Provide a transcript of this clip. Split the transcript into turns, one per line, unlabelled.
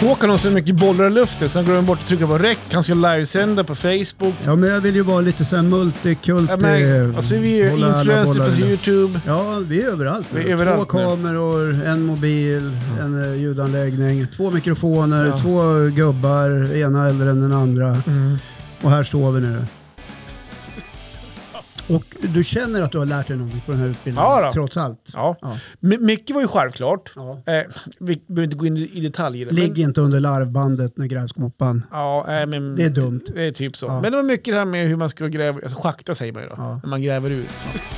Håkan har så mycket bollar i luften, sen går han bort och trycker på räck. Han ska livesända på Facebook.
Ja, men jag vill ju vara lite sån här multikult.
Ja, men,
eh,
alltså vi är
hålla alla
influencers
bollar
på
i luften.
YouTube.
Ja, vi är överallt. nu.
Vi är överallt
två
nu.
kameror, en mobil, en eh, ljudanläggning, två mikrofoner, två gubbar, ena äldre än den andra.
Mm.
Och här står vi nu. Och du känner att du har lärt dig någonting på den här utbildningen?
Ja då.
Trots allt?
Ja.
Ja.
My- Mycket var ju självklart.
Ja.
Eh, vi behöver inte gå in i i detalj i det. men-
Ligg inte under larvbandet när grävskopan.
Ja, nej, men,
Det är dumt.
Det är typ så.
Ja.
Men det var mycket det här med hur man ska gräva, alltså schakta säger man ju då,
Ja.
när man gräver ut.